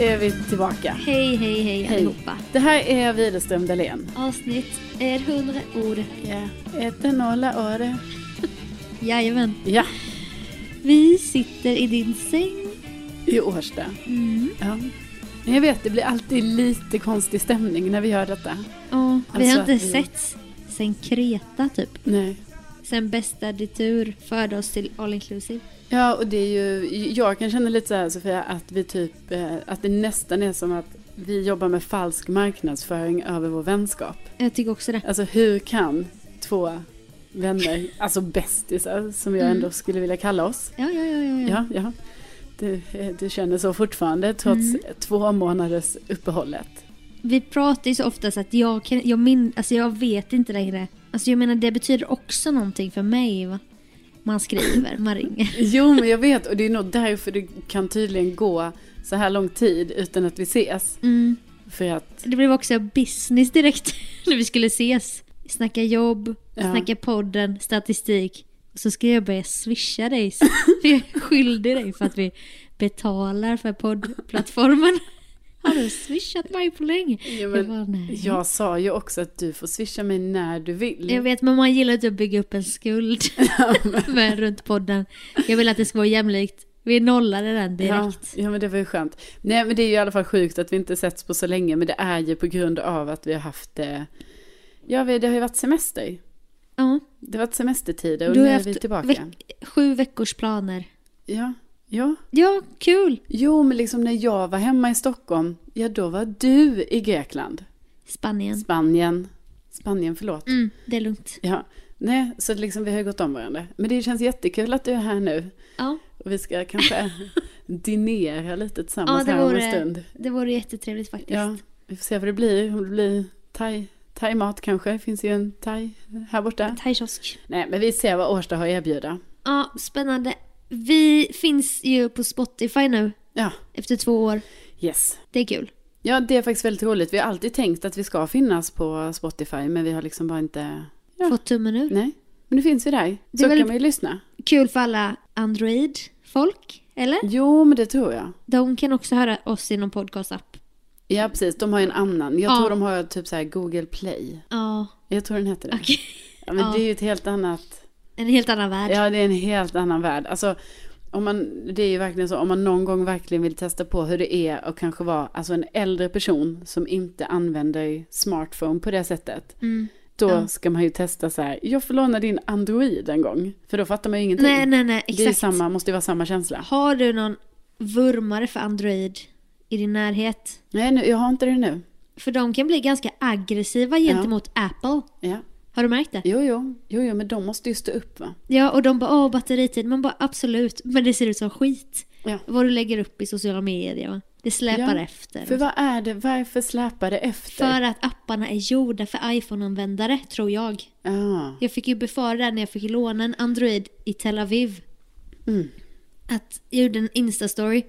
är vi tillbaka. Hej, hej, hej, allihopa. Det här är Widerström Dahlén. Avsnitt är 100 ord. Ja. Ett nolla öre. Jajamän. Ja, Vi sitter i din säng. i Årsta. Mm. Ja. Men Jag vet, det blir alltid lite konstig stämning när vi gör detta. Och vi Alltså har att inte vi- setts sen Kreta typ. Nej. Sen bästa ditur förde oss till all inclusive. Ja, och det är ju, jag kan känna lite så här Sofia, att vi typ, eh, att det nästan är som att vi jobbar med falsk marknadsföring över vår vänskap. Jag tycker också det. Alltså hur kan två vänner, alltså bästisar som jag Mm. ändå skulle vilja kalla oss. Ja, ja, ja, ja. ja. Ja, ja. Du, eh, du känner så fortfarande trots Mm. två månaders uppehållet. Vi pratar ju så ofta så att jag kan, jag min, alltså jag vet inte längre. Alltså jag menar det betyder också någonting för mig va. Man skriver, man ringer. Jo, men jag vet och det är nog därför det kan tydligen gå så här lång tid utan att vi ses. Mm. För att, Det blev också business direkt när vi skulle ses. Snacka jobb, Ja. snacka podden, statistik. Och så ska jag börja swisha dig. För jag är skyldig dig för att vi betalar för poddplattformen. Har du swishat mig på länge? ja, Jag, men, bara, nej. Jag sa ju också att du får swisha mig när du vill. jag vet, men man gillar inte att bygga upp en skuld med runt podden. Jag vill att det ska vara jämlikt. Vi nollade den ja, direkt. ja, men det var ju skönt. Nej, men det är ju i alla fall sjukt att vi inte setts på så länge, men det är ju på grund av att vi har haft, eh, ja, vi- det har ju varit semester. Ja. Det har varit semestertider och Du har nu är haft vi tillbaka. veck- sju veckors planer. ja, ja. Ja, kul! Jo, men liksom när jag var hemma i Stockholm, ja då var du i Grekland, Spanien. Spanien, Spanien, förlåt. Mm, det är lugnt. Ja, nej, så liksom vi har ju gått om varandra. Men det känns jättekul att du är här nu. Ja. Och vi ska kanske dinera lite Ja, tillsammans det här om vore, en stund. det vore jättetrevligt faktiskt. Ja, vi får se vad det blir. Om det blir thai, thai-mat kanske. Det finns ju en thai här Mm. borta. Thaikiosk. Nej, men vi ser vad Årsta har att erbjuda. Ja, spännande. Vi finns ju på Spotify nu Ja, efter två år. yes. Det är kul. Ja, det är faktiskt väldigt roligt. Vi har alltid tänkt att vi ska finnas på Spotify, men vi har liksom bara inte... Ja. Fått tummen ur. Nej, men nu finns vi där. Det är Så väldigt- kan man ju lyssna. Kul för alla Android-folk, eller? Jo, men det tror jag. De kan också höra oss i någon podcast-app. Ja, precis. De har ju en annan. Jag Ja. tror de har typ så här Google Play. Ja, Jag tror den heter det. okej. Ja, men Ja. det är ju ett helt annat... En helt annan värld. Ja, det är en helt annan värld. Alltså, om man, det är ju verkligen så, om man någon gång verkligen vill testa på hur det är och kanske vara alltså en äldre person som inte använder smartphone på det sättet. Mm. Då Ja. ska man ju testa så här, jag får låna din Android en gång. För då fattar man ju ingenting. Nej, nej, nej, det är ju exakt. samma, måste ju vara samma känsla. Har du någon vurmare för Android i din närhet? Nej, nu, jag har inte det nu. För de kan bli ganska aggressiva gentemot Apple. Ja. Har du märkt det? Jo, jo, jo, jo, men de måste ju stå upp va? Ja, och de bara åh batteritid. Man bara absolut, men det ser ut som skit. Ja. Vad du lägger upp i sociala medier. va? Det släpar Ja, efter. För vad är det, varför släpar det efter? För att apparna är gjorda för iPhone-användare, tror jag. Ja. Jag fick ju befara det när jag fick låna en Android i Tel Aviv. Mm. Att jag gjorde en Insta-story.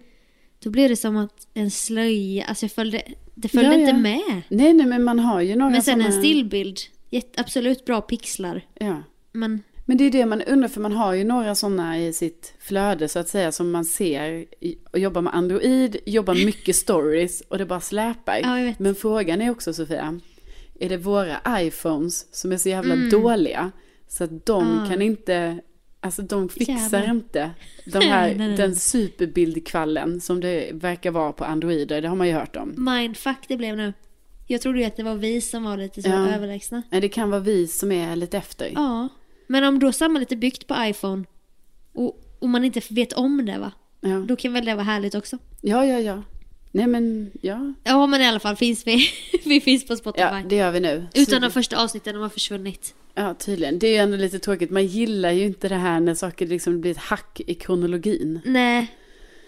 Då blev det som att en slöja, alltså jag följde, det följde Ja, ja. inte med. Nej, nej, men man har ju några Men sen som en är- stillbild. Jätte, absolut bra pixlar. Ja. Men Men det är det man undrar, för man har ju några sådana i sitt flöde så att säga som man ser i- och jobbar med Android, jobbar mycket stories och det bara släpar. Ja, jag vet. Men frågan är också Sofia, är det våra iPhones som är så jävla Mm. dåliga så att de Ah. kan inte, alltså de fixar Jävlar. inte de Nej, nej, här, nej. den superbildkvallen som det verkar vara på Androider, det har man ju hört om. mindfuck det blev nu. Jag trodde ju att det var vi som var lite så Ja. överlägsna. Nej, det kan vara vi som är lite efter. Ja, men om då samhället är byggt på iPhone och, och man inte vet om det va? Ja, Då kan väl det vara härligt också? ja, ja. ja. Nej men, ja. Ja men i alla fall finns vi. vi finns på Spotify. Ja, det gör vi nu. Utan de första avsnitten, de har försvunnit. Ja, tydligen. Det är ju ändå lite tråkigt. Man gillar ju inte det här när saker liksom blir ett hack i kronologin. Nej.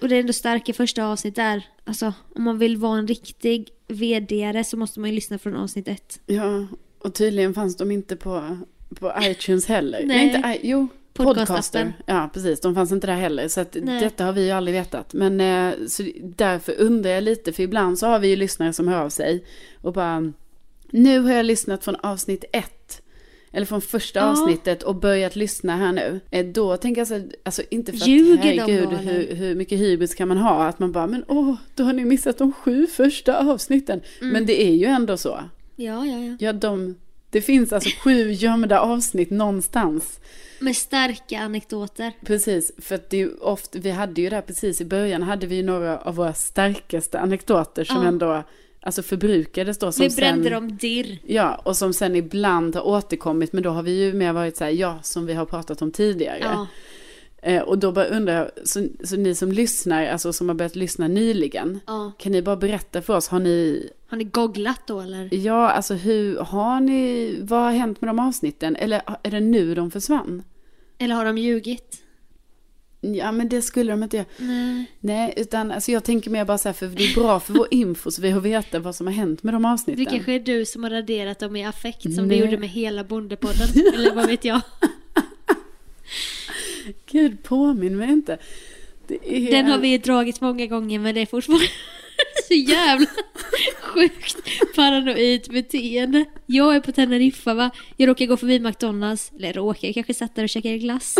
Och det är ändå starka första avsnitt där. Alltså om man vill vara en riktig vd så måste man ju lyssna från avsnitt ett. Ja, och tydligen fanns de inte på, på iTunes heller. Nej. inte, I- jo, Podcastappen. podcaster. Ja, precis. De fanns inte där heller. Så att Nej. detta har vi ju aldrig vetat. Men eh, så därför undrar jag lite, för ibland så har vi ju lyssnare som hör av sig och bara, nu har jag lyssnat från avsnitt ett. eller från första Ja. avsnittet och börjat lyssna här nu, eh, då tänker jag så här, alltså inte för att Ljuger de herregud då, eller? hur, hur mycket hybris kan man ha, att man bara men åh, då har ni missat de sju första avsnitten. Mm. Men det är ju ändå så. Ja, ja, ja. Ja, de, det finns alltså sju gömda avsnitt någonstans. Med starka anekdoter. Precis, för att det är ju ofta, vi hade ju där precis i början, hade vi ju några av våra starkaste anekdoter som Ja. ändå, alltså förbrukades då som Vi brände sen... dem dirr. Ja, och som sen ibland har återkommit, men då har vi ju mer varit så här, ja, som vi har pratat om tidigare. Ja. Eh, och då bara undrar jag, så, så ni som lyssnar, alltså som har börjat lyssna nyligen, ja. kan ni bara berätta för oss, har ni, Har ni googlat då eller? ja, alltså hur, har ni, vad har hänt med de avsnitten? Eller är det nu de försvann? Eller har de ljugit? Ja, men det skulle de inte göra. Nej. Nej, utan alltså jag tänker mer bara så här, för det är bra för vår info, så vi har vetat vad som har hänt med de Det avsnitten. kanske är du som har raderat dem i affekt som Nej. du gjorde med hela Bondepodden. eller vad vet jag. Gud, påminn mig inte. Det är Den har en- vi dragit många gånger men det är fortfarande så jävla sjukt paranoid beteende. Jag är på Teneriffa va. Jag råkar gå förbi McDonalds, eller råkar, jag kanske satt där och käkade glass.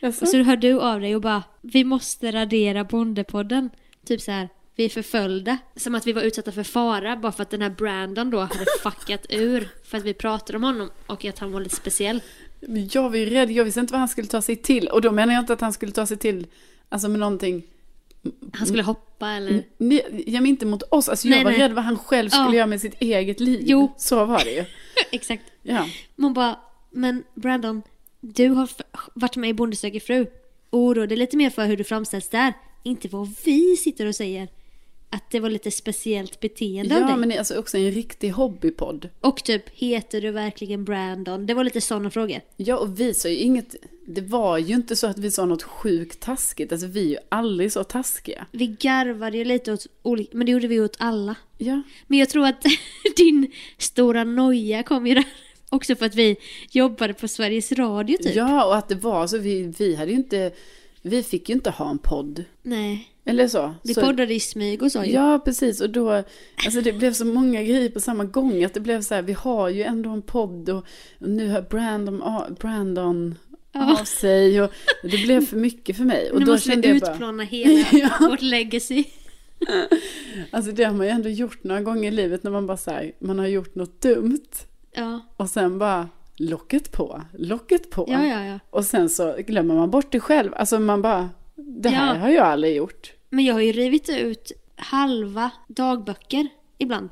Jaså? Och så hör du av dig och bara vi måste radera Bondepodden. Typ så här. Vi är förföljda. Som att vi var utsatta för fara bara för att den här Brandon då hade fuckat ur. För att vi pratade om honom och att han var lite speciell. Men Jag var ju rädd, jag visste inte vad han skulle ta sig till. Och då menar jag inte att han skulle ta sig till, alltså med någonting, Han Mm. skulle hoppa eller... nej, jag menar inte mot oss, alltså jag Mm. Nej, var nej. rädd vad han själv skulle Ja. göra med sitt eget liv. Jo. Så var det ju. Exakt. Ja. Man bara, men Brandon, du har f- varit med i Bonde söker fru. Oroa dig lite mer för hur du framställs där. Inte vad vi sitter och säger. Att det var lite speciellt beteende av Ja, dig. men det är alltså också en riktig hobbypodd. Och typ, heter du verkligen Brandon? Det var lite sådana frågor. Ja, och vi sa ju inget, det var ju inte så att vi sa något sjukt taskigt, alltså vi är ju aldrig så taskiga. Vi garvade ju lite åt olika, men det gjorde vi ju åt alla. Ja. Men jag tror att din stora noja kom ju där. Också för att vi jobbade på Sveriges Radio typ. Ja, och att det var så, vi, vi hade ju inte, vi fick ju inte ha en podd. Nej, Eller så. vi så poddade i smyg och så ju. Ja, precis. Och då, alltså det blev så många grejer på samma gång. Att det blev så här, vi har ju ändå en podd och och nu har Brandon, a- Brandon av sig. Och det blev för mycket för mig. Och nu då måste kände vi jag bara, utplåna hela Ja. vårt legacy. alltså det har man ju ändå gjort några gånger i livet när man bara så här, man har gjort något dumt. Ja, Och sen bara, locket på, locket på. ja, ja, ja. Och sen så glömmer man bort det själv. Alltså man bara, det här Ja. har jag aldrig gjort. Men jag har ju rivit ut halva dagböcker ibland.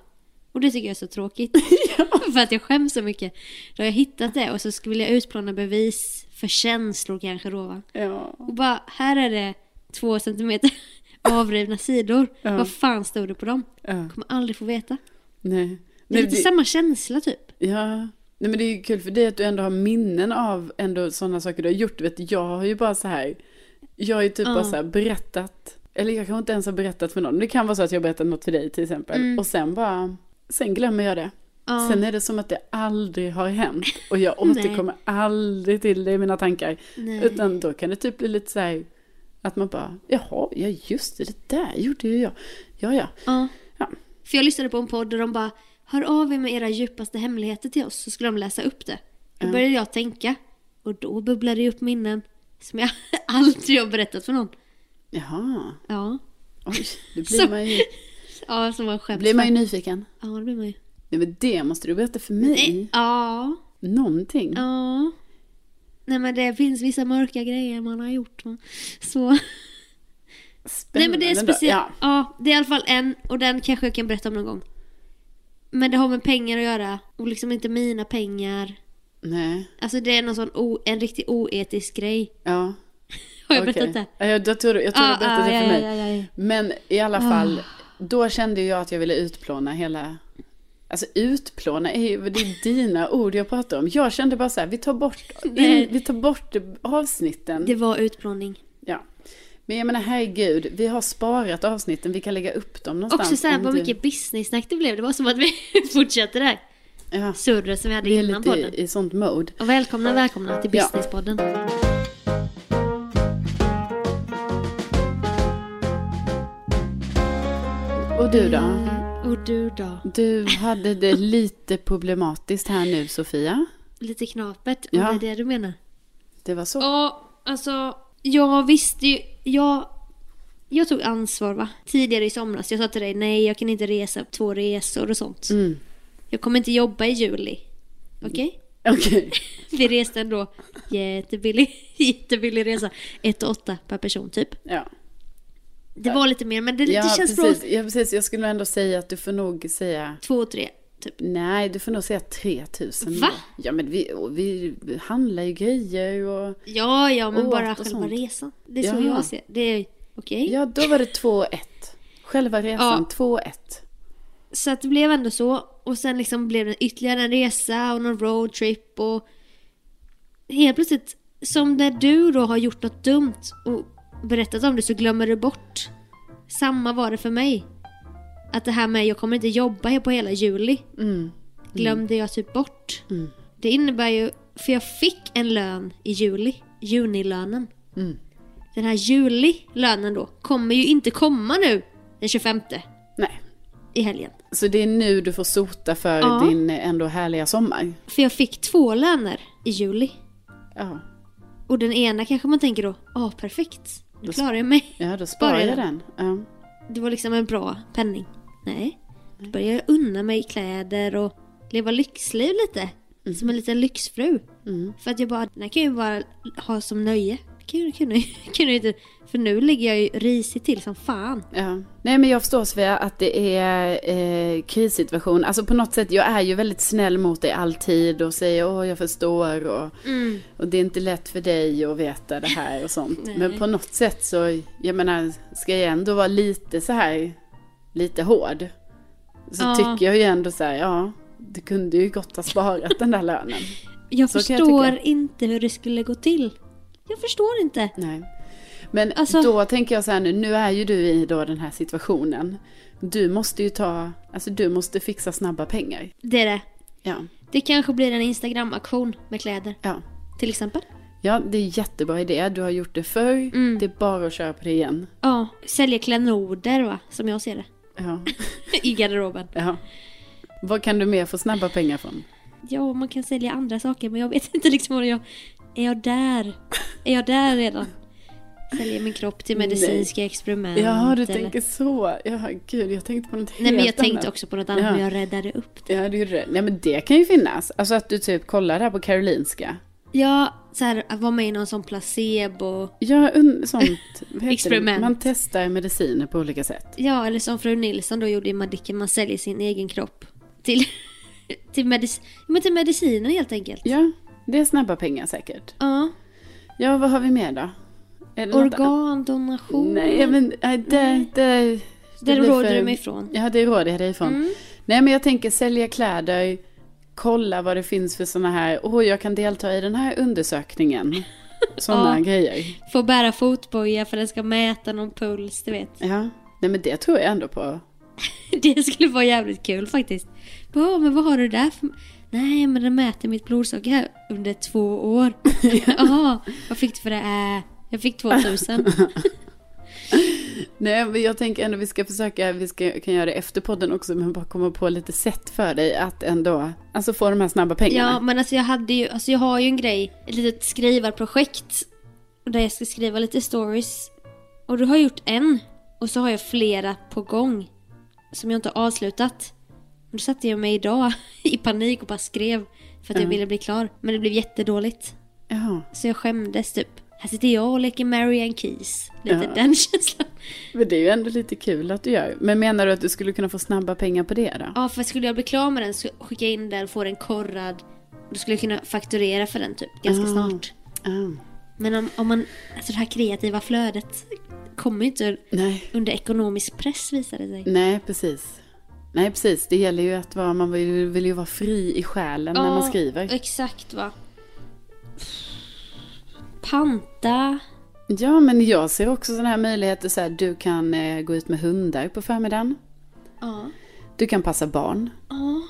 Och det tycker jag är så tråkigt. För att jag skäms så mycket. Då har jag hittat det och så skulle jag utplåna bevis för känslor kanske då va. Ja. Och bara, här är det två centimeter avrivna sidor. Ja. Vad fan stod det på dem? ja. Kommer aldrig få veta. Nej. Det är Nej, lite det- samma känsla typ. Ja, Nej, men det är ju kul för dig att du ändå har minnen av ändå sådana saker du har gjort. Du vet, jag har ju bara så här, jag har ju typ Ja. bara så här berättat, eller jag kanske inte ens har berättat för någon. Det kan vara så att jag har berättat något för dig till exempel. Och sen bara, sen glömmer jag det. Mm. Ja. Sen är det som att det aldrig har hänt och jag återkommer aldrig till det i mina tankar. Nej. Utan då kan det typ bli lite så här att man bara, jaha, ja just det, det där gjorde ju jag. Ja, ja. Ja. Ja. För jag lyssnade på en podd och de bara Hör av er med era djupaste hemligheter till oss så skulle de läsa upp det. Då Ja. började jag tänka och då bubblade det upp minnen som jag aldrig har berättat för någon. Jaha, Ja, oj, då Så- blir man ju, ja som var skämt. blir man ju nyfiken. Ja, det blir man ju. Nej men det måste du berätta för mig. Ja, Någonting. ja. Nej men det finns vissa mörka grejer man har gjort. va. Så. Nej men det är Spännande då. speciellt. Ja. Ja. det är i alla fall en och den kanske jag kan berätta om någon gång. Men det har med pengar att göra och liksom inte mina pengar. Nej. Alltså det är någon sån o, en riktig oetisk grej. Mm. Ja. Har jag okej. berättat det? Ja, jag, jag tror, jag tror du berättade det för mig. ja, ja, Ah. ja. Men i alla fall, då kände jag att jag ville utplåna hela... Alltså utplåna, är ju- det är dina ord jag pratar om. Jag kände bara så här, vi tar bort, Nej. in, vi tar bort avsnitten. Det var utplåning. Ja. Men jag menar herregud, vi har sparat avsnitten, vi kan lägga upp dem någonstans. Också såhär om vad du- mycket business-snack det blev. Det var som att vi fortsatte det här Ja, surret som vi hade vi är innan lite podden. i, i sånt mode. Och välkomna, välkomna till Ja. businesspodden. Och du då? Och du då? Du hade det lite problematiskt här nu Sofia. lite knapert. Om Ja. det är det du menar. Det var så. Ja, alltså. Jag visste ju. Jag, jag tog ansvar va. Tidigare i somras. Jag sa till dig nej jag kan inte resa två resor och sånt. Mm. Jag kommer inte jobba i juli. Okej? Okej. Vi reste ändå jättebillig, jättebillig resa. 1 8 per person typ. Ja. Det var lite mer men det, Ja, det känns bra. precis. ja, precis. Jag skulle ändå säga att du får nog säga... 2 3 typ. Nej, du får nog säga 3000. Va? då. Ja, men vi, och vi handlar ju grejer och... Ja, ja, men Åh, bara och själva sånt. resan. Det är så Jaha. jag ser det. är Okej. Ja, då var det 2-1. Själva resan, Ja. 2-1. Så att det blev ändå så. Och sen liksom blev det ytterligare en resa och någon roadtrip och... Helt plötsligt, som när du då har gjort något dumt och berättat om det så glömmer du bort. Samma var det för mig. Att det här med jag kommer inte jobba på hela juli Mm. glömde jag typ bort. Mm. Det innebär ju, för jag fick en lön i juli, junilönen. Mm. Den här julilönen då kommer ju inte komma nu den 25 Nej. i helgen. Så det är nu du får sota för Ja. din ändå härliga sommar. För jag fick två löner i juli. Ja, Och den ena kanske man tänker då, ja ah, perfekt, nu klarar jag mig. ja då sparar Sparar jag jag den. Ja. Det var liksom en bra penning. Nej, då började jag unna mig kläder och leva lyxliv lite. Som en liten lyxfru. Mm. För att jag bara, den här kan jag ju bara ha som nöje. Det Kan jag, kan jag, kan jag inte. För nu ligger jag ju risigt till som fan. Ja. Nej men jag förstår Svea att det är eh, krissituation. Alltså på något sätt, jag är ju väldigt snäll mot dig alltid och säger åh jag förstår och, och det är inte lätt för dig att veta det här och sånt. Mm. Nej. men på något sätt så, jag menar, ska jag ändå vara lite så här, lite hård. Så Ja. tycker jag ju ändå så här, ja, du kunde ju gott ha sparat den där lönen. Jag Så kan jag förstår tycka. inte hur det skulle gå till. Jag förstår inte. Nej. Men Alltså- då tänker jag så här nu, nu är ju du i då den här situationen. Du måste ju ta, alltså du måste fixa snabba pengar. Det är det. Ja, Det kanske blir en Instagram-aktion med kläder. ja. Till exempel. Ja, det är en jättebra idé. Du har gjort det förr. Mm. Det är bara att köra på det igen. Ja, sälja klenoder va, som jag ser det. Ja, I garderoben. ja. Vad kan du mer få snabba pengar från? Ja, man kan sälja andra saker men jag vet inte liksom om jag... Är jag där? Är jag där redan? Sälja min kropp till medicinska experiment. Ja, du eller- tänker så. Ja, gud, jag tänkte på något helt Nej men jag annat. tänkte också på något annat Ja. men jag räddade upp. Ja, det gjorde det. Nej, men det kan ju finnas. Alltså att du typ kollar där på Karolinska. Ja, så här, att vara med i någon sån placebo. Ja, un- sånt. vad heter det? Experiment. Man testar mediciner på olika sätt. Ja, eller som fru Nilsson då gjorde i Madicken, man säljer sin egen kropp. Till, till, medic- men till medicinen helt enkelt. Ja, det är snabba pengar säkert. Ja, Ja, vad har vi mer då? Är det något annat? organdonation. Nej, men nej, det... det Där blir råder Mm. för- du mig ifrån. Ja, det råder jag dig ifrån. Nej, men jag tänker sälja kläder, kolla vad det finns för sådana här, åh, jag kan delta i den här undersökningen. Sådana Ja. grejer. Får bära fotboja för den ska mäta någon puls, du vet. Ja, nej men det tror jag ändå på. Det skulle vara jävligt kul faktiskt. Bara, "Ja, men vad har du där för... Nej, men den mäter mitt blodsocker här under två år. Jaha, vad fick du för det? Äh, jag fick 2000. Nej, men jag tänker ändå vi ska försöka, vi ska, kan göra det efter podden också, men bara komma på lite sätt för dig att ändå, alltså få de här snabba pengarna. Ja, men alltså jag hade ju... Alltså jag har ju en grej, ett litet skrivarprojekt. Där jag ska skriva lite stories. Och du har jag gjort en. Och så har jag flera på gång. Som jag inte har avslutat. Och då satte jag mig idag i panik och bara skrev. För att jag ville bli klar. Men det blev jättedåligt. Jaha. Så jag skämdes typ. Här sitter jag och leker Marianne Keys. Lite Ja. den känslan. Men det är ju ändå lite kul att du gör. Men menar du att du skulle kunna få snabba pengar på det då? Ja, för skulle jag bli klar med den så skickar jag in den, får den korrad. Då skulle jag kunna fakturera för den typ ganska Ah. snart. Ah. Men om, om man, alltså det här kreativa flödet kommer ju inte Nej. under ekonomisk press visar det sig. Nej, precis. Nej, precis. Det gäller ju att vara, man vill, vill ju vara fri i själen när man Ja, skriver. Mm. Exakt va. Panta. Ja, men jag ser också sådana här möjligheter så här, du kan eh, gå ut med hundar på förmiddagen. Ja. Du kan passa barn. Ja.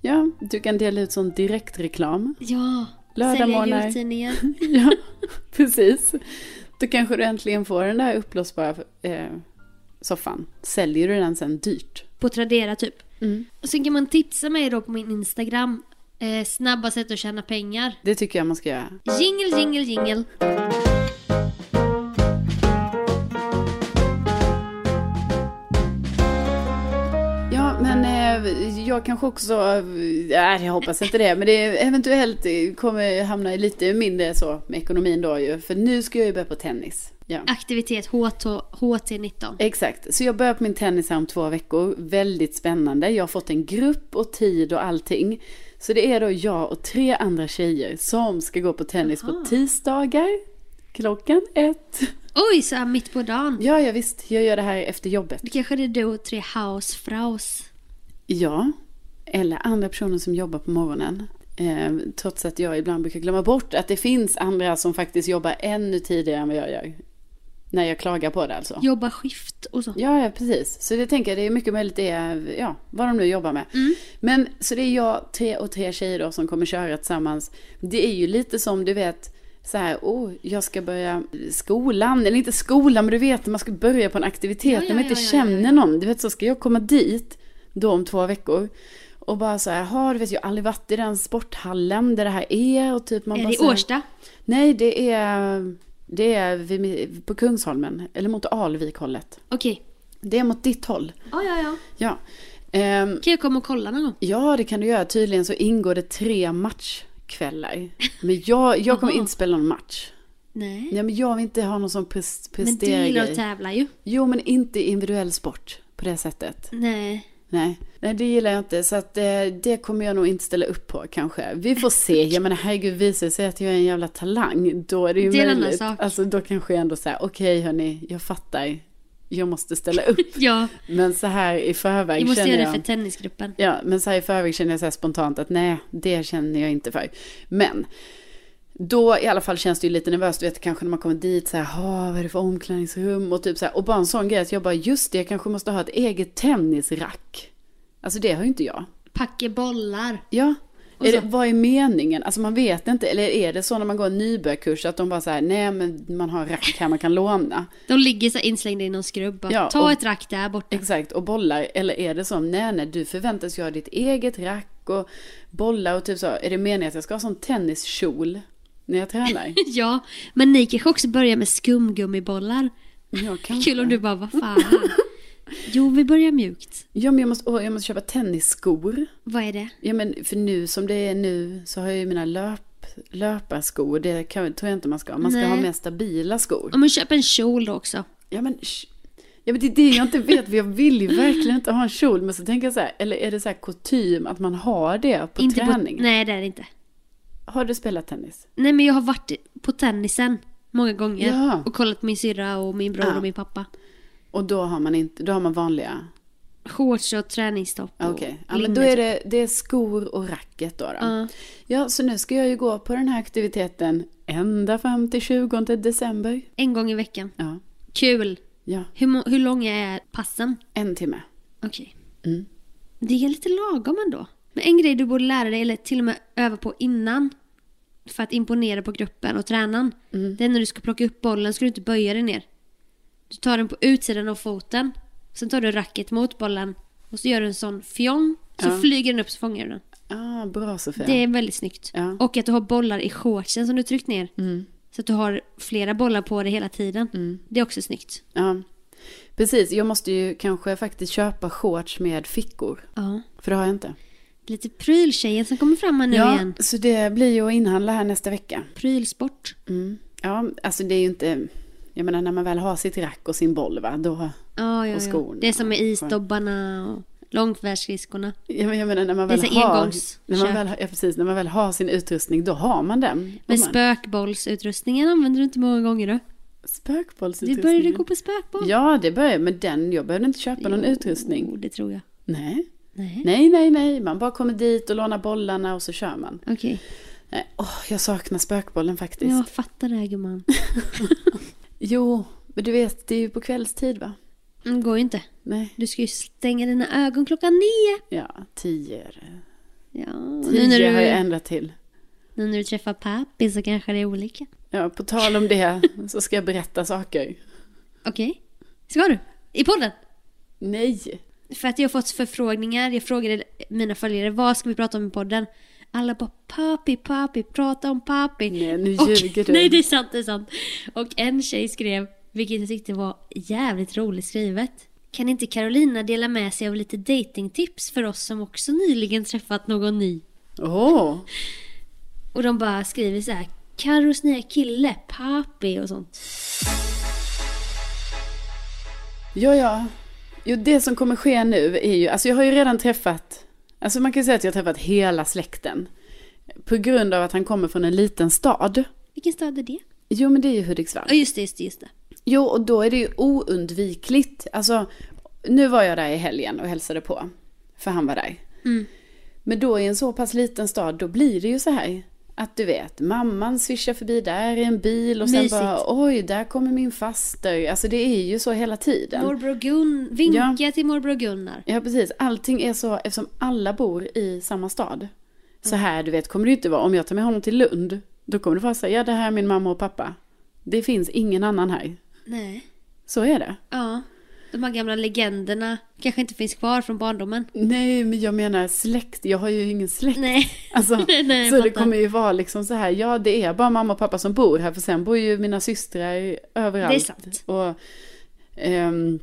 Ja, du kan dela ut sån direktreklam. Ja. Lördagmorgnar. Sälja jultidningar. ja, precis. Då kanske du äntligen får den där uppblåsbara eh, soffan. Säljer du den sen dyrt? På Tradera typ. Mm. Och sen kan man tipsa mig då på min Instagram Eh, snabba sätt att tjäna pengar. Det tycker jag man ska göra. Jingle, jingle, jingle. Ja, men eh, jag kanske också, eh, nej jag hoppas inte det, men det eventuellt eh, kommer jag hamna i lite mindre så med ekonomin då ju, för nu ska jag ju börja på tennis. Ja. Aktivitet HT, HT19. Exakt, så jag börjar på min tennis här om två veckor. Väldigt spännande. Jag har fått en grupp och tid och allting. Så det är då jag och tre andra tjejer som ska gå på tennis Jaha. på tisdagar klockan ett. Oj, så här mitt på dagen. Ja, ja visst, jag gör det här efter jobbet. Det kanske det är du och tre housefraus. Ja, eller andra personer som jobbar på morgonen. Eh, trots att jag ibland brukar glömma bort att det finns andra som faktiskt jobbar ännu tidigare än vad jag gör. När jag klagar på det alltså. Jobba skift och så. Ja, ja, precis. Så det tänker jag, det är mycket möjligt det är, ja, vad de nu jobbar med. Mm. Men så det är jag, tre och tre tjejer då som kommer köra tillsammans. Det är ju lite som, du vet, så här, oh, jag ska börja skolan, eller inte skolan, men du vet när man ska börja på en aktivitet, Ja, ja, när man inte ja, ja, känner ja, ja. någon. Du vet, så ska jag komma dit då om två veckor. Och bara så här, "Jaha, du vet jag har aldrig varit i den sporthallen där det här är och typ man Är bara det i så här- Årsta? Nej, det är, det är vid, på Kungsholmen, eller mot Alvik-hållet. Okej. Det är mot ditt håll. Ja, ja, ja. Ja. Ehm, Kan jag komma och kolla någon gång? ja, det kan du göra. Tydligen så ingår det tre matchkvällar. Men jag, jag kommer Jaha. inte spela någon match. Nej. Nej, men jag vill inte ha någon som pres- Men du presterar gillar att grej. tävla ju. Jo, men inte i individuell sport på det sättet. Nej. Nej, Nej det gillar jag inte. Så att, eh, det kommer jag nog inte ställa upp på kanske. Vi får se. Jag menar herregud, visar det sig att jag är en jävla talang, då är det ju Det är en annan möjligt. sak. Alltså då kanske jag ändå säger, okej hörni, jag fattar. Jag måste ställa upp. Ja, Men så här i förväg vi måste känner göra det jag... för tennisgruppen. Ja, men så här i förväg känner jag så här spontant att nej, det känner jag inte för. Men då i alla fall känns det ju lite nervöst, du vet kanske när man kommer dit så här, "Ha, vad är det för omklädningsrum och typ så här. Och bara en sån grej att jag bara, just det, jag kanske måste ha ett eget tennisrack. Alltså det har ju inte jag. Packa bollar. Ja. Och Är så- det, vad är meningen? Alltså man vet inte, eller är det så när man går en nybörjarkurs att de bara säger nej men man har rack här man kan låna. De ligger så här inslängda i någon skrubb. bara, Ja, Ta och- ett rack där borta. Exakt, och bollar. Eller är det som, nej nej, du förväntas ju ha ditt eget rack och bollar och typ så. Är det meningen att jag ska ha sån tenniskjol när jag tränar? Ja, men ni kanske också börjar med skumgummibollar. Ja, kanske. Kul om du bara, vad fan. Jo, vi börjar mjukt. Ja, men jag måste, åh, jag måste köpa tennisskor. Vad är det? Ja, men för nu som det är nu så har jag ju mina löp, löparskor. Det kan, tror jag inte man ska ha. Man ska Nej. ha mer stabila skor. Om man köper en kjol då också. Ja, men sh- Ja men det är det jag inte vet, för jag vill ju verkligen inte ha en kjol. Men så tänker jag så här, eller är det så här kutym att man har det på inte träning? På, nej, det är det inte. Har du spelat tennis? Nej, men jag har varit på tennisen många gånger. Ja. Och kollat min syrra och min bror Ja. och min pappa. Och då har man inte, då har man vanliga? Shorts och träningstopp Okej, och ja, men då linne, är det, det är skor och racket då. då. Ja. Ja, så nu ska jag ju gå på den här aktiviteten ända fram till 20 december. typ. En gång i veckan. Ja, Kul! ja Hur, må- hur långa är passen? en timme. Okej. Mm. Det är lite lagom ändå. Men en grej du borde lära dig, eller till och med öva på innan, för att imponera på gruppen och tränaren. Mm. Det är när du ska plocka upp bollen ska du inte böja dig ner. Du tar den på utsidan av foten, sen tar du racket mot bollen och så gör du en sån fjong, så Ja. flyger den upp så fångar du den. Ja, Ah, bra Sofia. Det är väldigt snyggt. Ja. Och att du har bollar i shortsen som du tryckt ner. Så att du har flera bollar på dig hela tiden. Det är också snyggt. Ja. Precis, jag måste ju kanske faktiskt köpa shorts med fickor. Ja. För det har jag inte. Lite pryltjejen som kommer fram här nu ja, igen. så det blir ju att inhandla här nästa vecka. Prylsport. Mm. Ja, alltså det är ju inte... Jag menar när man väl har sitt rack och sin boll va, då... Ja, ja, Och ja. skorna. Det är som med isdobbarna och långfärdsskridskorna. Ja, men jag menar när man Det är väl, så har, engångsköp. när man väl, har- ja, precis, när man väl har sin utrustning, då har man den. Men Då har man. spökbollsutrustningen använder du inte många gånger då? Du Spökbollsutrustningen. började gå på spökboll? Ja, det började men den, jag behövde inte köpa någon utrustning. Jo, Oh, det tror jag. Nej. Nej. nej, nej, nej, man bara kommer dit och lånar bollarna och så kör man. Okej. Nej, Åh, jag saknar spökbollen faktiskt. Jag fattar det här gumman. Jo, men du vet, det är ju på kvällstid va? Det Mm, går ju inte. Nej, Du ska ju stänga dina ögon klockan nio. ja, tio är det. Ja. Tio Nu när, har jag du, ändrat till. nu när du träffar pappi så kanske det är olika. Ja, på tal om det så ska jag berätta saker. Okej. Ska du? I podden? Nej, För att jag har fått förfrågningar. Jag frågade mina följare vad ska vi prata om i podden? Alla bara papi, papi, prata om papi. Nej, nu Och- ljuger du. Nej, det är sant, det är sant. Och en tjej skrev, vilket jag tyckte var jävligt roligt skrivet. Kan inte Carolina dela med sig av lite datingtips för oss som också nyligen träffat någon ny? Åh, Och de bara skriver så här, Carros nya kille, papi och sånt. ja ja. Jo, det som kommer ske nu är ju, alltså jag har ju redan träffat, alltså man kan ju säga att jag har träffat hela släkten. På grund av att han kommer från en liten stad. Vilken stad är det? Jo, men det är ju Hudiksvall. Ja, just det, just det, just det. Jo, och då är det ju oundvikligt. Alltså, nu var jag där i helgen och hälsade på. För han var där. Mm. Men då i en så pass liten stad, då blir det ju så här. Att du vet, mamman svischar förbi där i en bil och sen Mysigt. bara oj, där kommer min faster. Alltså det är ju så hela tiden. Morbror Gun... Vinka till morbror Gunnar. Ja, precis. Allting är så, eftersom alla bor i samma stad. Så här, du vet, kommer det ju inte vara, om jag tar med honom till Lund, då kommer det vara så här, ja det här är min mamma och pappa. Det finns ingen annan här. Nej. Så är det. Ja. De här gamla legenderna kanske inte finns kvar från barndomen. Nej, men jag menar släkt. Jag har ju ingen släkt. Nej. Alltså, Nej, jag så det fattar. kommer ju vara liksom så här, ja det är bara mamma och pappa som bor här för sen bor ju mina systrar överallt. Det är sant. Och, ehm,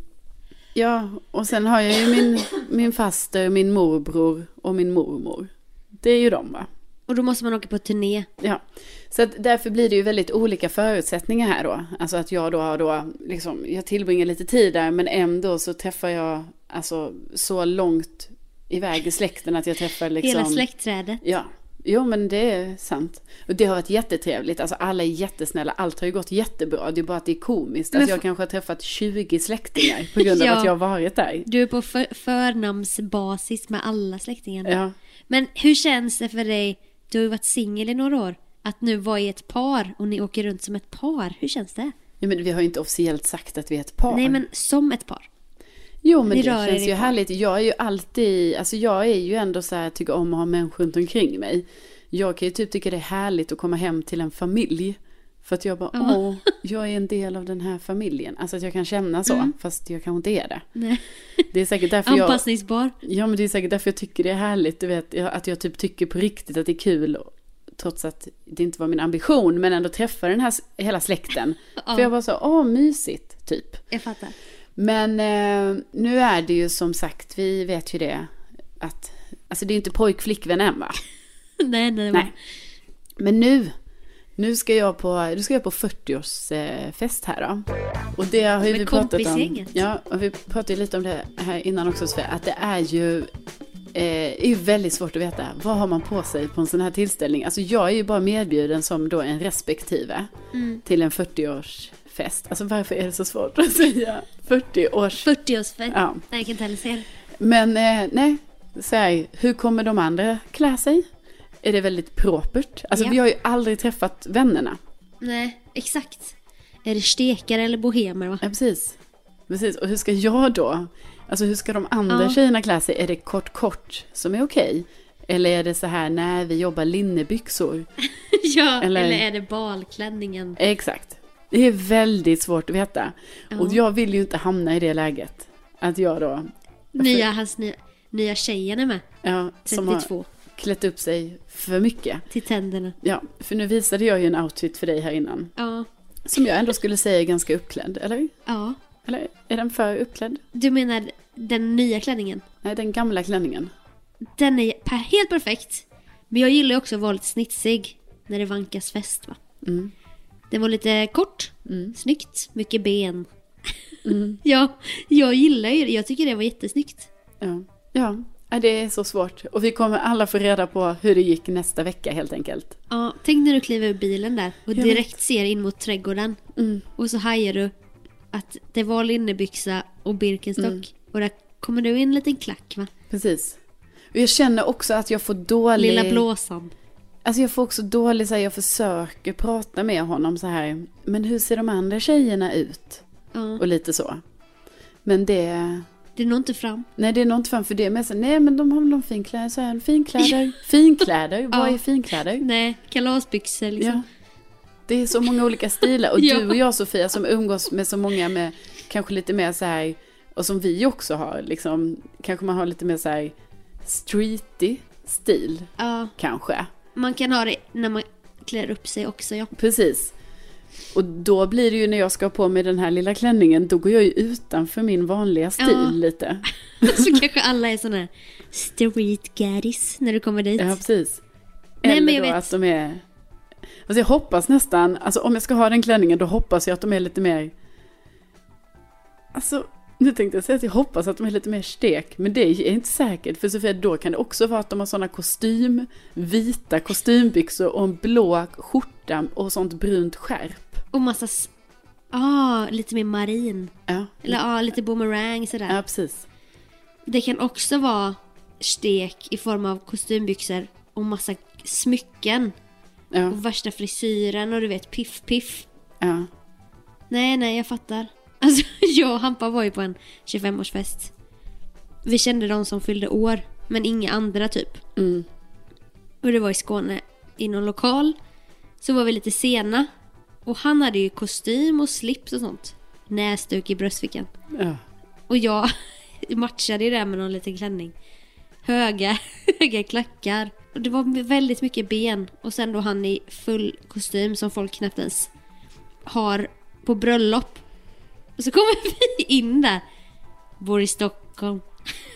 ja, och sen har jag ju min, min faster, min morbror och min mormor. Det är ju de va? Och då måste man åka på turné. Ja, så att därför blir det ju väldigt olika förutsättningar här då. Alltså att jag då har då, liksom, jag tillbringar lite tid där men ändå så träffar jag alltså så långt iväg i släkten att jag träffar liksom. Hela släktträdet. Ja, jo men det är sant. Och det har varit jättetrevligt, alltså alla är jättesnälla, allt har ju gått jättebra, det är bara att det är komiskt. Alltså jag kanske har träffat 20 släktingar på grund av Ja. att jag har varit där. Du är på för- förnamnsbasis med alla släktingarna. Ja. Men hur känns det för dig, du har ju varit singel i några år, att nu vara i ett par och ni åker runt som ett par. Hur känns det? ja, men vi har ju inte officiellt sagt att vi är ett par. Nej men som ett par. Jo men Ni det rör er känns i ju par. härligt. Jag är ju alltid, alltså jag är ju ändå så här, tycker om att ha människor runt omkring mig. Jag kan ju typ tycka det är härligt att komma hem till en familj. För att jag bara, Ja. åh, jag är en del av den här familjen. Alltså att jag kan känna så, Mm. fast jag kanske inte är det. Nej. Det är säkert därför jag... Anpassningsbar. Ja men det är säkert därför jag tycker det är härligt, du vet, jag- att jag typ tycker på riktigt att det är kul. och- Trots att det inte var min ambition, men ändå träffa den här, s- hela släkten. Ja. För jag var så, åh mysigt, typ. Jag fattar. Men eh, nu är det ju som sagt, vi vet ju det, att, alltså det är ju inte pojk-flickvän än va? nej, nej, Nej. Men nu, nu ska jag på, nu ska jag på 40-årsfest här då. Och det har ju Med vi pratat om. kompisgänget. Ja, och vi pratade ju lite om det här innan också Sofia, att det är ju eh, är ju väldigt svårt att veta vad har man på sig på en sån här tillställning. Alltså jag är ju bara medbjuden som då en respektive Mm. till en 40-årsfest. Alltså varför är det så svårt att säga 40-års... 40-årsfest. Ja. Nej, jag kan inte heller säga det. Men eh, nej, så här, hur kommer de andra klä sig? Är det väldigt propert? Alltså Ja. vi har ju aldrig träffat vännerna. Nej, exakt. Är det stekare eller bohemer va? Ja, precis. Precis, och hur ska jag då? Alltså hur ska de andra Ja. tjejerna klä sig? Är det kort kort som är okej? Eller är det så här, nej vi jobbar linnebyxor? ja, Eller- eller... är det balklänningen? Exakt. Det är väldigt svårt att veta. Ja. Och jag vill ju inte hamna i det läget. Att jag då, Nya, hans nya, nya tjejen är med. ja, som har 32. klätt upp sig för mycket. Till tänderna. Ja, för nu visade jag ju en outfit för dig här innan. Ja. Som jag ändå skulle säga är ganska uppklädd, eller? Ja. Eller är den för uppklädd? Du menar den nya klänningen? Nej, den gamla klänningen. Den är per- helt perfekt. Men jag gillar ju också att vara lite snitsig när det vankas fest va. Mm. Den var lite kort, snyggt, mycket ben. Mm. ja, jag gillar ju det. Jag tycker det var jättesnyggt. Ja. ja, Ja, det är så svårt. Och vi kommer alla få reda på hur det gick nästa vecka helt enkelt. Ja, tänk när du kliver ur bilen där och Jag direkt ser in mot trädgården. Mm, Och så hajar du att det var linnebyxa och Birkenstock. Mm. Och där kommer du in en liten klack va? Precis. Och jag känner också att jag får dålig... Lilla blåsan. Alltså jag får också dålig, så här, jag försöker prata med honom så här. Men hur ser de andra tjejerna ut? Ja, Och lite så. Men det... det når inte fram. Nej, det är nog inte fan för det. Men jag säger, nej, men de har väl någon finkläder. Så här, finkläder. Finkläder. Vad är Ja. finkläder? Nej, kalasbyxor liksom. Ja. Det är så många olika stilar. Och Ja. du och jag Sofia som umgås med så många med kanske lite mer så här, och som vi också har, liksom, kanske man har lite mer så här streety stil Ja. kanske. Man kan ha det när man klär upp sig också ja. Precis. Och då blir det ju när jag ska ha på mig den här lilla klänningen, då går jag ju utanför min vanliga stil Ja. lite. Så kanske alla är såna här street gaddies när du kommer dit. Ja, precis. Nej, Eller men jag då vet. att de är... Alltså jag hoppas nästan, alltså om jag ska ha den klänningen då hoppas jag att de är lite mer... Alltså, nu tänkte jag säga att jag hoppas att de är lite mer stek, men det är inte säkert. För Sofia, då kan det också vara att de har sådana kostym, vita kostymbyxor och en blå skjorta och sånt brunt skärp. Och massa... s- Ah, lite mer marin. Ja, Eller ja, ah, lite boomerang sådär. ja precis. Det kan också vara stek i form av kostymbyxor och massa smycken. Ja, Och värsta frisyren och du vet piff-piff. ja. Nej, nej, jag fattar. Alltså, jag och Hampa var ju på en 25-årsfest. Vi kände de som fyllde år, men inga andra typ. Mm. Och det var i Skåne, i någon lokal. Så var vi lite sena. Och han hade ju kostym och slips och sånt. Näsduk i bröstfickan. ja. Och jag matchade ju det med någon liten klänning. Höga, höga klackar. Och det var väldigt mycket ben. Och sen då han i full kostym som folk knappt ens har på bröllop. Och så kommer vi in där. Bor i Stockholm.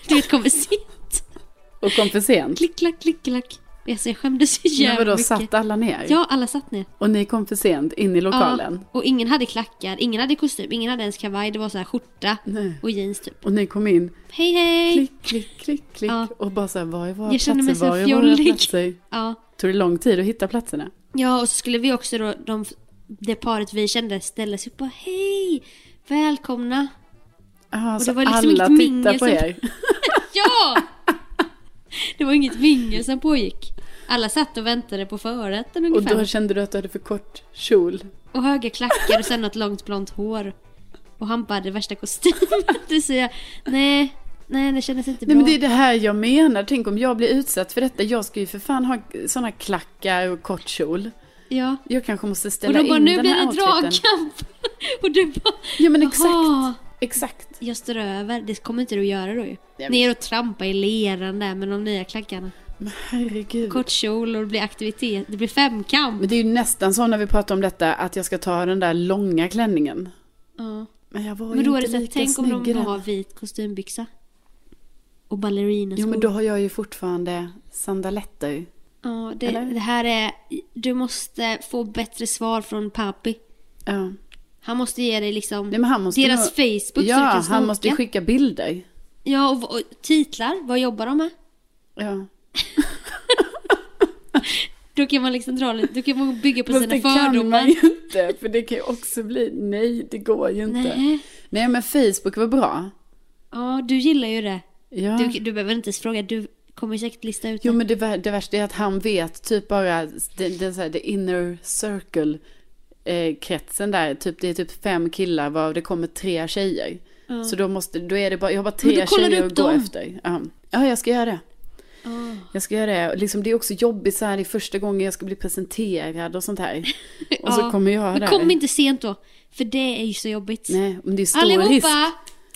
Du vet, kommer sent. Och kom för sent. Klick, klack, klick, klack. Alltså jag skämdes så Men jävla vadå, mycket. satt alla ner? Ja, alla satt ner. Och ni kom för sent in i lokalen? Ja, och ingen hade klackar, ingen hade kostym, ingen hade ens kavaj. Det var så här skjorta Nej. och jeans typ. Och ni kom in Hej, hej! Mm. klick, klick, klick, klick. Ja. Och bara så här, var är våra Jag känner mig platser? så Var är våra fjollig. platser? Ja. Tog det lång tid att hitta platserna? Ja, och så skulle vi också då, de, det paret vi kände ställa sig upp och bara hej, välkomna. Ah, så var liksom alla inget tittar mingel på som- er. Ja! Det var inget mingel som pågick. Alla satt och väntade på förrätten Och ungefär. då Och, kände du att du hade för kort kjol. höga klackar och sen något långt blont hår. Och han bara hade värsta kostymen. Det säger jag, nej, nej det kändes inte Nej bra. men det är det här jag menar. Tänk om jag blir utsatt för detta. Jag ska ju för fan ha sådana klackar och kort kjol. Ja. Jag kanske måste Och ställa då bara, in nu den blir här det outfiten. dragkamp. Och du bara, Ja men exakt. "Jaha." Exakt. Jag står över, det kommer inte du göra då ju. vet. Ner och trampa i leran där med de nya klackarna. Men herregud. Kort kjol och det blir aktivitet, det blir femkamp. Men det är ju nästan så när vi pratar om detta att jag ska ta den där långa klänningen. Ja. Men jag var Men ju då är det inte så här, lika tänk om snygg i de den. har vit kostymbyxa. Och Jo ballerinaskor. men då har jag ju fortfarande sandaletter. ja, det, Eller? det här är, du måste få bättre svar från pappi. Ja. Han måste ge dig liksom Nej, men han måste Mm. deras nog- Facebook så du ja, kan han måste ju snoka. skicka bilder. Ja, och, och titlar, vad jobbar de med? Ja. Då kan man liksom dra lite, då kan man bygga på Fast sina det kan man fördomar. ju inte, för det kan ju också bli, nej det går ju inte. Nej, Nej. men Facebook var bra. Ja, du gillar ju det. Ja. Du, du behöver inte ens fråga, du kommer säkert lista ut Jo det. men det, vär- det värsta är att han vet typ bara det, det, är så här, the inner circle eh, kretsen där, typ, det är typ fem killar varav det kommer tre tjejer. Ja. Så då, måste, då är det bara, jag har bara Men då tre kollar du tjejer upp att gå dem. efter. Ja. ja, jag ska göra det. Ah. Jag ska göra det. Och Liksom, det är också jobbigt så här, det är första gången jag ska bli presenterad och sånt här. Och så Ja. kommer jag Men där. kom inte sent då, för det är ju så jobbigt. Nej, men det är stor allihopa! risk.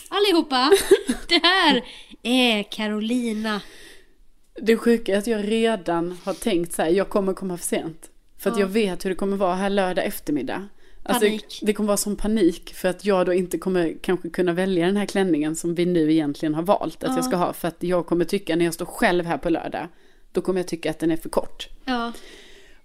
Allihopa! Det här är Carolina. Det sjuka är att jag redan har tänkt så här, jag kommer komma för sent. För att Ja. jag vet hur det kommer vara här lördag eftermiddag. Alltså, Panik. Det, det kommer vara sån panik för att jag då inte kommer kanske kunna välja den här klänningen som vi nu egentligen har valt att Ja. jag ska ha. För att jag kommer tycka när jag står själv här på lördag, då kommer jag tycka att den är för kort. Ja.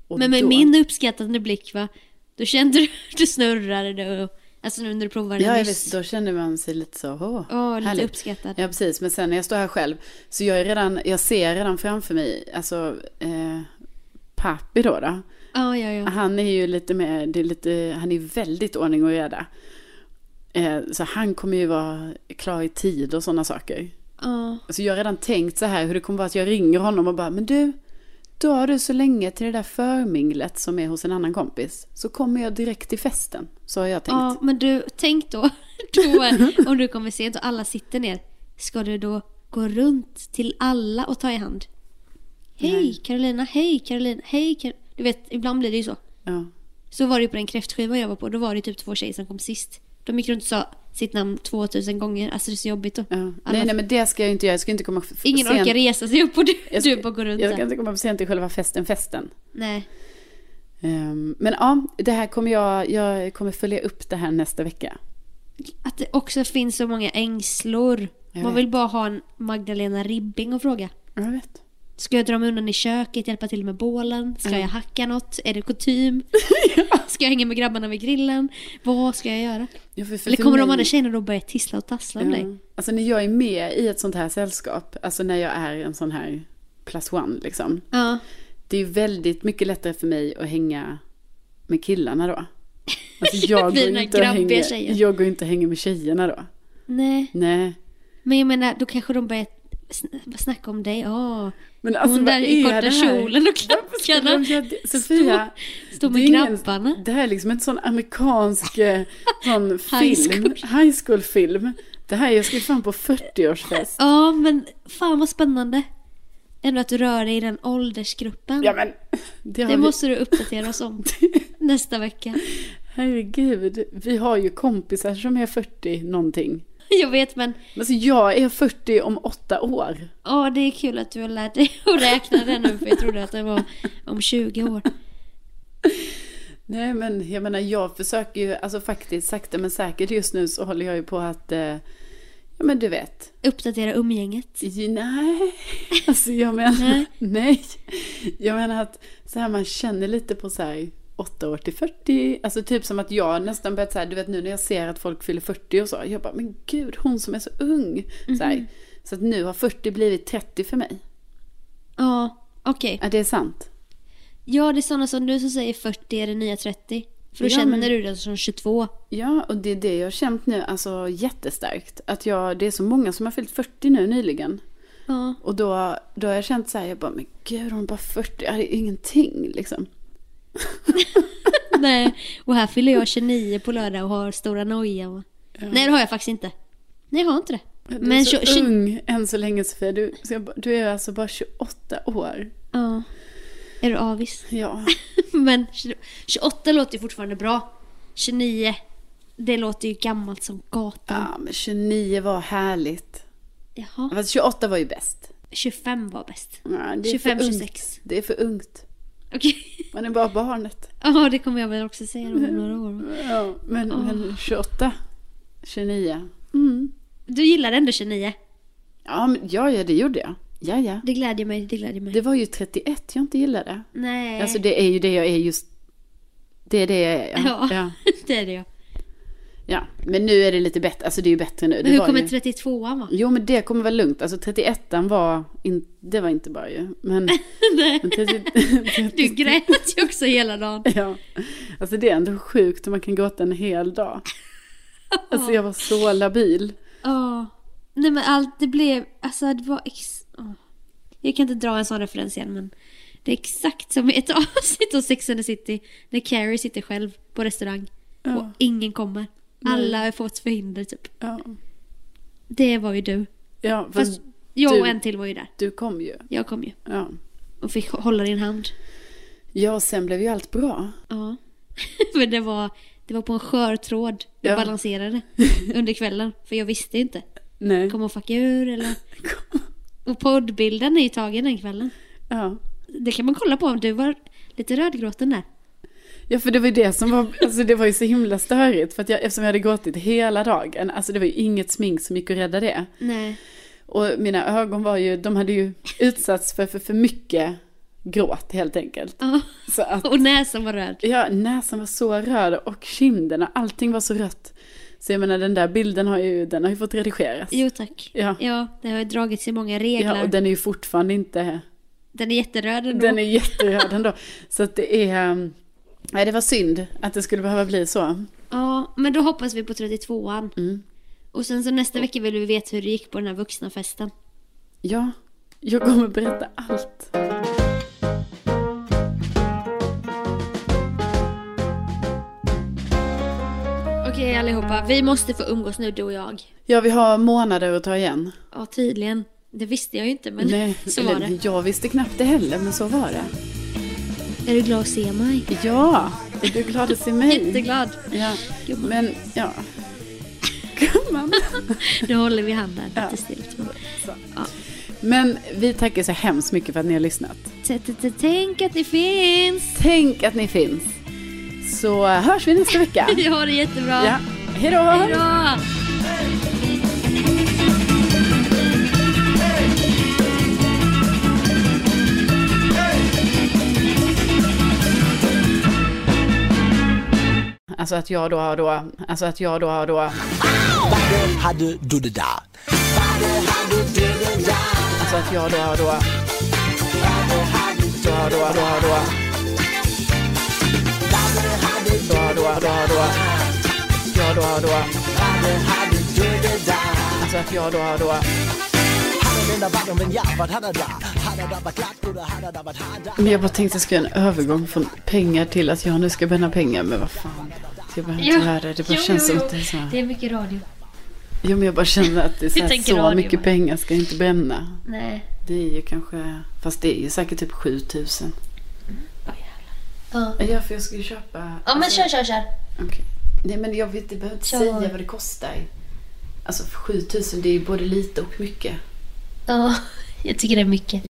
Och Men med då, min uppskattande blick va, då kände du, du snurrade du. och- Alltså nu när du provade Ja, jag nyss. visst, då känner man sig lite så, åh, Åh, lite härligt. uppskattad. Ja precis, men sen när jag står här själv så jag, är redan, jag ser redan framför mig, alltså eh, Pappi då, då Ja, ja, ja. han är ju lite mer, det är lite, han är väldigt ordning och reda. Eh, så han kommer ju vara klar i tid och sådana saker. ja. Så jag har redan tänkt så här hur det kommer vara att jag ringer honom och bara, men du, drar du så länge till det där förminglet som är hos en annan kompis så kommer jag direkt till festen. Så har jag tänkt. Ja, men du, tänk då, då om du kommer sent och alla sitter ner. Ska du då gå runt till alla och ta i hand? Hej Carolina, hej Carolina, hej Kar Du vet, ibland blir det ju så. Ja. Så var det ju på den kräftskivan jag var på, då var det typ två tjejer som kom sist. De gick runt och sa sitt namn 2000 gånger. Alltså det är så jobbigt. Och Ja. Alla- Nej, nej, men det ska jag inte göra. Jag ska inte komma f- Ingen orkar resa sig upp och du, Jag du ska- bara går runt Jag ska där. inte komma för sent till själva festen, festen. Nej. Ehm, Men ja, det här kommer jag, jag kommer följa upp det här nästa vecka. Att det också finns så många ängslor. Jag Man vet. vill bara ha en Magdalena Ribbing och fråga. Jag vet. Ska jag dra mig undan i köket, hjälpa till med bålen? Ska jag hacka något? Är det kutym? Ska jag hänga med grabbarna vid grillen? Vad ska jag göra? Ja, för- för- Eller för kommer de mig- andra tjejerna då börja tissla och tassla om dig? Ja. Alltså när jag är med i ett sånt här sällskap, alltså när jag är en sån här plus one liksom. Ja. Det är ju väldigt mycket lättare för mig att hänga med killarna då. Alltså jag, går Vi ju den här inte och grabbiga hänger, tjejen. jag går ju inte och hänger med tjejerna då. Nej. Nej. Men jag menar, då kanske de börjar sn- snacka om dig. Åh, Men alltså, hon vad där i är det korta här? kjolen och Varför ska de klackarna. göra det? Sofia, Stå det är med ingen- grabbarna. det här är liksom en sån amerikansk eh, sån High film, high school film. Det här, jag ska ju fan på 40-årsfest. Ja, men fan vad spännande. Ändå att du rör dig i den åldersgruppen. Ja men, det har det vi- måste du uppdatera oss om nästa vecka. Herregud, vi har ju kompisar som är 40 någonting. Jag vet men, Men så jag är 40 om åtta år. ja det är kul att du har lärt dig att räkna det nu för jag trodde att det var om 20 år. Nej men jag menar jag försöker ju, alltså faktiskt sakta men säkert just nu så håller jag ju på att, eh, ja men du vet, Uppdatera umgänget. ju- nej. Alltså jag menar, Nej. nej. Jag menar att så här man känner lite på så här 8 år till 40, alltså typ som att jag nästan börjat så här, du vet nu när jag ser att folk fyller 40 och så, jag bara men gud hon som är så ung. Så, här. så att nu har 40 blivit 30 för mig. Ja, okej. Ja, det är sant. Ja, det är sådana som du som säger 40 är det nya 30. För då Ja, känner men- du dig som 22. Ja, och det är det jag har känt nu, alltså jättestarkt. Att jag, det är så många som har fyllt 40 nu nyligen. Ja. Och då, då har jag känt så här, jag bara, men gud hon är bara 40, ja, det är ingenting liksom. Nej, och här fyller jag 29 på lördag och har stora nojan. Nej, det har jag faktiskt inte. Nej, jag har inte det. Du är Men så tjo- tjo- ung än så länge Sofia, du, så jag, bara- du är alltså bara 28 år. Ja. Är du avis? Ja, Men 20 28 låter ju fortfarande bra. 29, det låter ju gammalt som gatan. ja men 29 var härligt. Jaha. Fast 28 var ju bäst. 25 var bäst. Ja, det är för 25, ungt. 26. Det är för ungt. Okej. Man är bara barnet. Ja, det kommer jag väl också säga om några år. Ja, men, men 28, 29. Mm. Du gillar ändå 29. Ja, men, ja, ja, det gjorde jag. Ja, ja. Det glädjer mig, det glädjer mig. Det var ju 31 jag inte gillade. Nej. Alltså det är ju det jag är just. Det är det jag är. Ja. ja, ja. det är det ja. ja. Men nu är det lite bättre. Alltså det är ju bättre nu. Det Men hur var kommer ju... 32an vara? Jo men det kommer vara lugnt. Alltså 31 var, in... det var inte bra ju. Men, Nej. men 30... Du grät ju också hela dagen. ja. Alltså det är ändå sjukt om man kan gråta en hel dag. Alltså jag var så labil. Ja. Nej men allt det blev, alltså det var ex... ja. Jag kan inte dra en sån referens igen men det är exakt som i ett avsnitt av Sex and the City när Carrie sitter själv på restaurang och Ja. ingen kommer. Alla har fått förhinder typ. Ja. Det var ju du. Ja, fast, Fast jag du- och en till var ju där. du kom ju. Jag kom ju Ja. och fick hålla din hand. ja, och sen blev ju allt bra. Ja. men det var, det var på en skör tråd. Jag Ja. balanserade under kvällen för jag visste ju inte. Nej. Kommer hon fucka ur eller? Och poddbilden är ju tagen den kvällen. Ja. Det kan man kolla på om du var lite rödgråten där. Ja för det var ju det som var, alltså det var ju så himla störigt för att jag, eftersom jag hade gråtit hela dagen, alltså det var ju inget smink som gick att rädda det. Nej. Och mina ögon var ju, de hade ju utsatts för för, för mycket gråt helt enkelt. Ja. Så att, Och näsan var röd. ja näsan var så röd och kinderna, allting var så rött. Så jag menar den där bilden har ju, den har ju fått redigeras. Jo tack. Ja. ja det har ju dragits i många regler. Ja och den... den är ju fortfarande inte, är jätteröd ändå. den är jätteröd ändå. Så att det är, um, nej det var synd att det skulle behöva bli så. Ja, men då hoppas vi på 32an. Mm. Och sen så nästa vecka vill vi veta hur det gick på den här vuxna festen. Ja, jag kommer berätta allt. Okej allihopa, vi måste få umgås nu du och jag. Ja, vi har månader att ta igen. Ja tydligen. Det visste jag ju inte men så var eller, det. Jag visste knappt det heller, men så var det. Är du glad att se mig? Ja, är du glad att se mig? Jätteglad. Ja, Gumman. men ja. handen. Då håller vi handen Ja. lite stilt. Så. Ja. Men vi tackar så hemskt mycket för att ni har lyssnat. T- t- t- Tänk att ni finns! Tänk att ni finns. Så hörs vi nästa vecka. Vi har det jättebra. Ja. Hej då! Hej då! Alltså att jag då har då, alltså att jag då alltså har då, hade du det där? alltså att jag då har då. Då har då, då har då. Då har då, då har då. Jag då har då. Alltså att jag då har då. Men jag bara tänkte att jag skulle göra en övergång från pengar till att jag nu ska bränna pengar. Men vad fan. Jag behöver inte höra det. Det bara Jo, jo, känns som jo. att det är så här. Det är mycket radio. Jo men jag bara känner att det är så, här, tänker så radio, mycket va? pengar ska jag inte bränna. Nej. Det är ju kanske, fast det är ju säkert typ 7000. Ja. Ja för jag ska ju köpa. alltså- Ja men kör, kör, kör. Okej. Nej men jag vet inte, behöver inte Kör. säga vad det kostar. Alltså för 7000 det är ju både lite och mycket. Ja, jag tycker det är mycket.